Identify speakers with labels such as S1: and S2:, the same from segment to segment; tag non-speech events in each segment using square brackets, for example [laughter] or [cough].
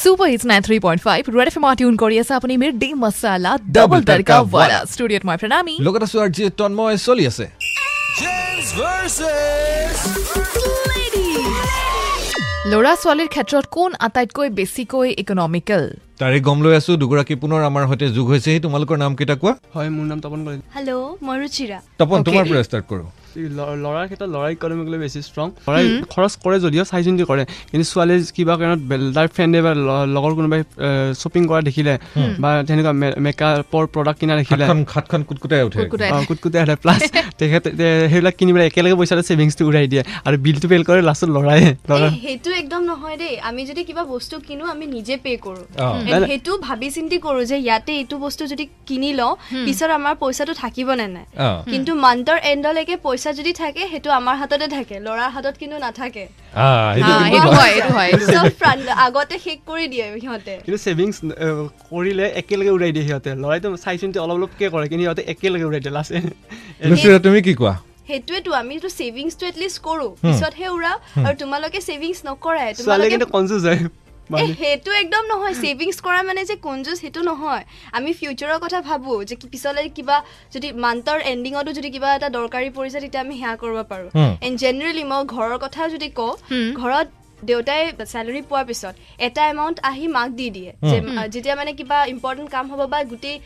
S1: Super it's nine three point five red F এমৰ tune কৰি আছে আপুনি মিৰ ডে মছালা ডাবল তড়কা ৱালা ষ্টুডিঅ'ত মই প্ৰণামী
S2: লগত আছো আৰ জি তন্ময় চলি আছে
S1: ল'ৰা ছোৱালীৰ ক্ষেত্ৰত কোন আটাইতকৈ বেছিকৈ ইকনমিকেল
S2: তাৰে গম লৈ আছো দুগৰাকী পুনৰ আমাৰ সৈতে যোগ হৈছেহি তোমালোকৰ নামকেইটা কোৱা
S3: হয় মোৰ নাম তপন কলিতা
S4: হেল্ল' মই ৰুচিৰা
S2: তপন
S1: Okay.
S2: তোমাৰ পৰা ষ্টাৰ্ট কৰোঁ
S3: এই ল- ল'ৰাৰ ক্ষেত্ৰত ল'ৰা ইকনমিক লৈ বেছি ষ্ট্ৰং ল'ৰাই খৰচ কৰে যদিও চাই চিন্তি কৰে কিন্তু ছোৱালীয়ে কিবা কাৰণত বেল- তাৰ ফ্ৰেণ্ডে বা ল- লগৰ কোনোবাই শ্বপিং কৰা দেখিলে বা তেনেকুৱা মে- মেকআপৰ প্ৰডাক্ট কিনা দেখিলে
S2: সাতখন সাতখন কুটকুটাই উঠে
S1: কুটকুটাই।
S3: অ, কুটকুটাই হ'লে
S4: [laughs]
S3: প্লাছ তেখেতে তে- সেইবিলাক কিনি পেলাই একেলগে পইচাটো ছেভিংছটো উৰাই দিয়ে আৰু বিলটো পেল কৰে লাষ্টত ল'ৰাই ল'ৰা
S4: এই, সেইটো একদম নহয় দেই আমি যদি কিবা বস্তু কিনো আমি নিজে পে' কৰোঁ
S2: অ।
S4: And
S3: নাই, নাই।
S4: সেইটো ভাবি চিন্তি কৰোঁ যে ইয়াতে এইটো বস্তু যদি কিনি লওঁ পিছত আমাৰ পইচাটো থাকিব নে নাই
S2: অ।
S4: কিন্তু মান্থৰ এণ্ডলৈকে পইচা যদি থাকে সেইটো আমাৰ হাততে থাকে ল'ৰাৰ হাতত কিন্তু নাথাকে
S2: আ, সেইটো
S1: হা, এইটো
S2: কিন্তু ভাল।
S1: হয়, এইটো হয়, এইটো হয়।
S4: চব front- আগতে শেষ কৰি দিয়ে সিহঁতে
S3: কিন্তু ছেভিংছ কৰিলে একেলগে উৰাই দিয়ে সিহঁতে ল'ৰাইতো চাই চিন্তি অলপ অলপকৈ কৰে কিন্তু সিহঁতে একেলগে উৰাই দিয়ে লাষ্ট
S2: লুচিৰা তুমি কি কোৱা
S4: সেইটোৱেতো আমিতো ছেভিংছটো এটলিষ্ট কৰোঁ পিছতহে উৰাও আৰু তোমালোকে ছেভিংছ নকৰাই
S3: ছোৱালীয়ে
S4: তোমালোকে
S3: কিন্তু কনজুজ হয়
S4: এ, সেইটো একদম নহয় ছেভিংছ কৰা মানে যে কঞ্জুচ সেইটো নহয় আমি ফিউচাৰৰ কথা ভাবোঁ যে কি- পিছলৈ কিবা যদি মান্থৰ এণ্ডিঙতো যদি কিবা এটা দৰকাৰী পৰিছে তেতিয়া আমি সেয়া কৰিব পাৰোঁ
S2: হুম।
S4: এণ্ড জেনেৰেলি মই ঘৰৰ কথা যদি কওঁ
S1: হুম।
S4: ঘৰত দেউতাই চেলাৰী পোৱাৰ পিছত এটা এমাউণ্ট আহি মাক দি দিয়ে যে আ, যেতিয়া মানে কিবা ইম্পৰ্টেণ্ট কাম হ'ব বা গোটেই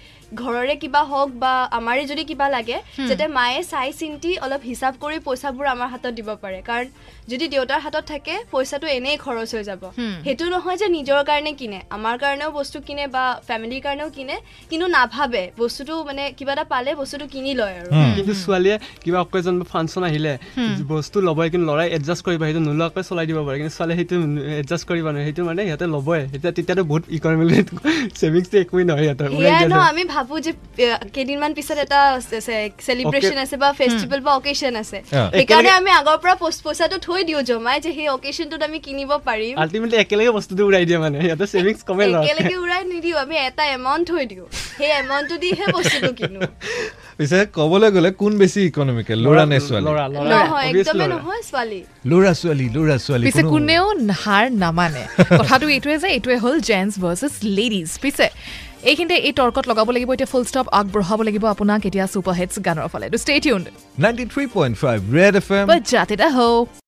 S4: ঘৰৰে কিবা হওক বা আমাৰে যদি কিবা লাগে যাতে মায়ে চাই চিন্তি অলপ হিচাপ কৰি পইচাবোৰ আমাৰ হাতত দিব পাৰে কাৰণ যদি দেউতাৰ হাতত থাকে পইচাটো এনেই খৰচ হৈ যাব
S1: হুম।
S4: সেইটো নহয় যে নিজৰ কাৰণে কিনে আমাৰ কাৰণেও বস্তু কিনে বা ফেমিলিৰ কাৰণেও কিনে কিন্তু নাভাবে বস্তুটো মানে কিবা এটা পালে বস্তুটো কিনি লয় আৰু
S3: কিন্তু ছোৱালীয়ে কিবা অকেজন বা ফাংচন আহিলে বস্তু ল'বই কিন্তু ল'ৰাই এডজাষ্ট কৰিব সেইটো নোলোৱাকৈ চলাই দিব পাৰে কিন্তু ছোৱালীয়ে সেইটো এডজাষ্ট কৰিব নোৱাৰে সেইটো মানে সিহঁতে ল'বই এতিয়া তেতিয়াতো বহুত ইকনমিক [laughs] ছেভিংছটো একোৱেই নহয় সিহঁতৰ ওলাই
S4: সেয়াই
S3: দিয়ে
S4: ন
S3: সিহঁতে।
S4: আমি ভাবো যে এ, কেইদিনমান পিছত এটা চেলিব্ৰেশ্যন আছে বা ফেষ্টিভেল বা অকেশ্যন আছে
S2: অ।
S4: সেইকাৰণে
S3: একেলগে-
S4: আমি আগৰ পৰা পইচ- পইচাটো থৈ দিওঁ জমাই যে সেই অকেশ্যনটোত আমি কিনিব পাৰিম
S3: আল্টিমেটলি একেলগে বস্তুটো উৰাই দিয়ে মানে সিহঁতে ছেভিংছ কমে লয়
S4: একেলগে উৰাই নিদিওঁ আমি এটা এমাউণ্ট থৈ দিওঁ সেই এমাউণ্টটো দিহে বস্তুটো কিনো
S2: পিছে ক'বলৈ গ'লে কোন বেছি ইকনমিকেল ল'ৰা নে ছোৱালী
S3: ল'ৰা ল'ৰা
S4: নহয়
S3: obviously
S4: একদমেই
S3: ল'ৰা।
S4: নহয় ছোৱালী
S2: ল'ৰা ছোৱালী ল'ৰা ছোৱালী
S1: পিছে
S2: কোনো-
S1: কোনেও হাৰ নামানে কথাটো এইটোৱে যে এইটোৱে হ'ল জেন্টছ ভাৰ্চেছ লেডিজ পিছে এইখিনিতে এই তৰ্কত লগাব লাগিব এতিয়া ফুল ষ্টপ আগবঢ়াব লাগিব আপোনাক
S2: Um,
S1: এতিয়া ছুপাৰ হিটছ গানৰ ফালে stay tune
S2: 93.5 red FM
S1: but যাতে এটা হওক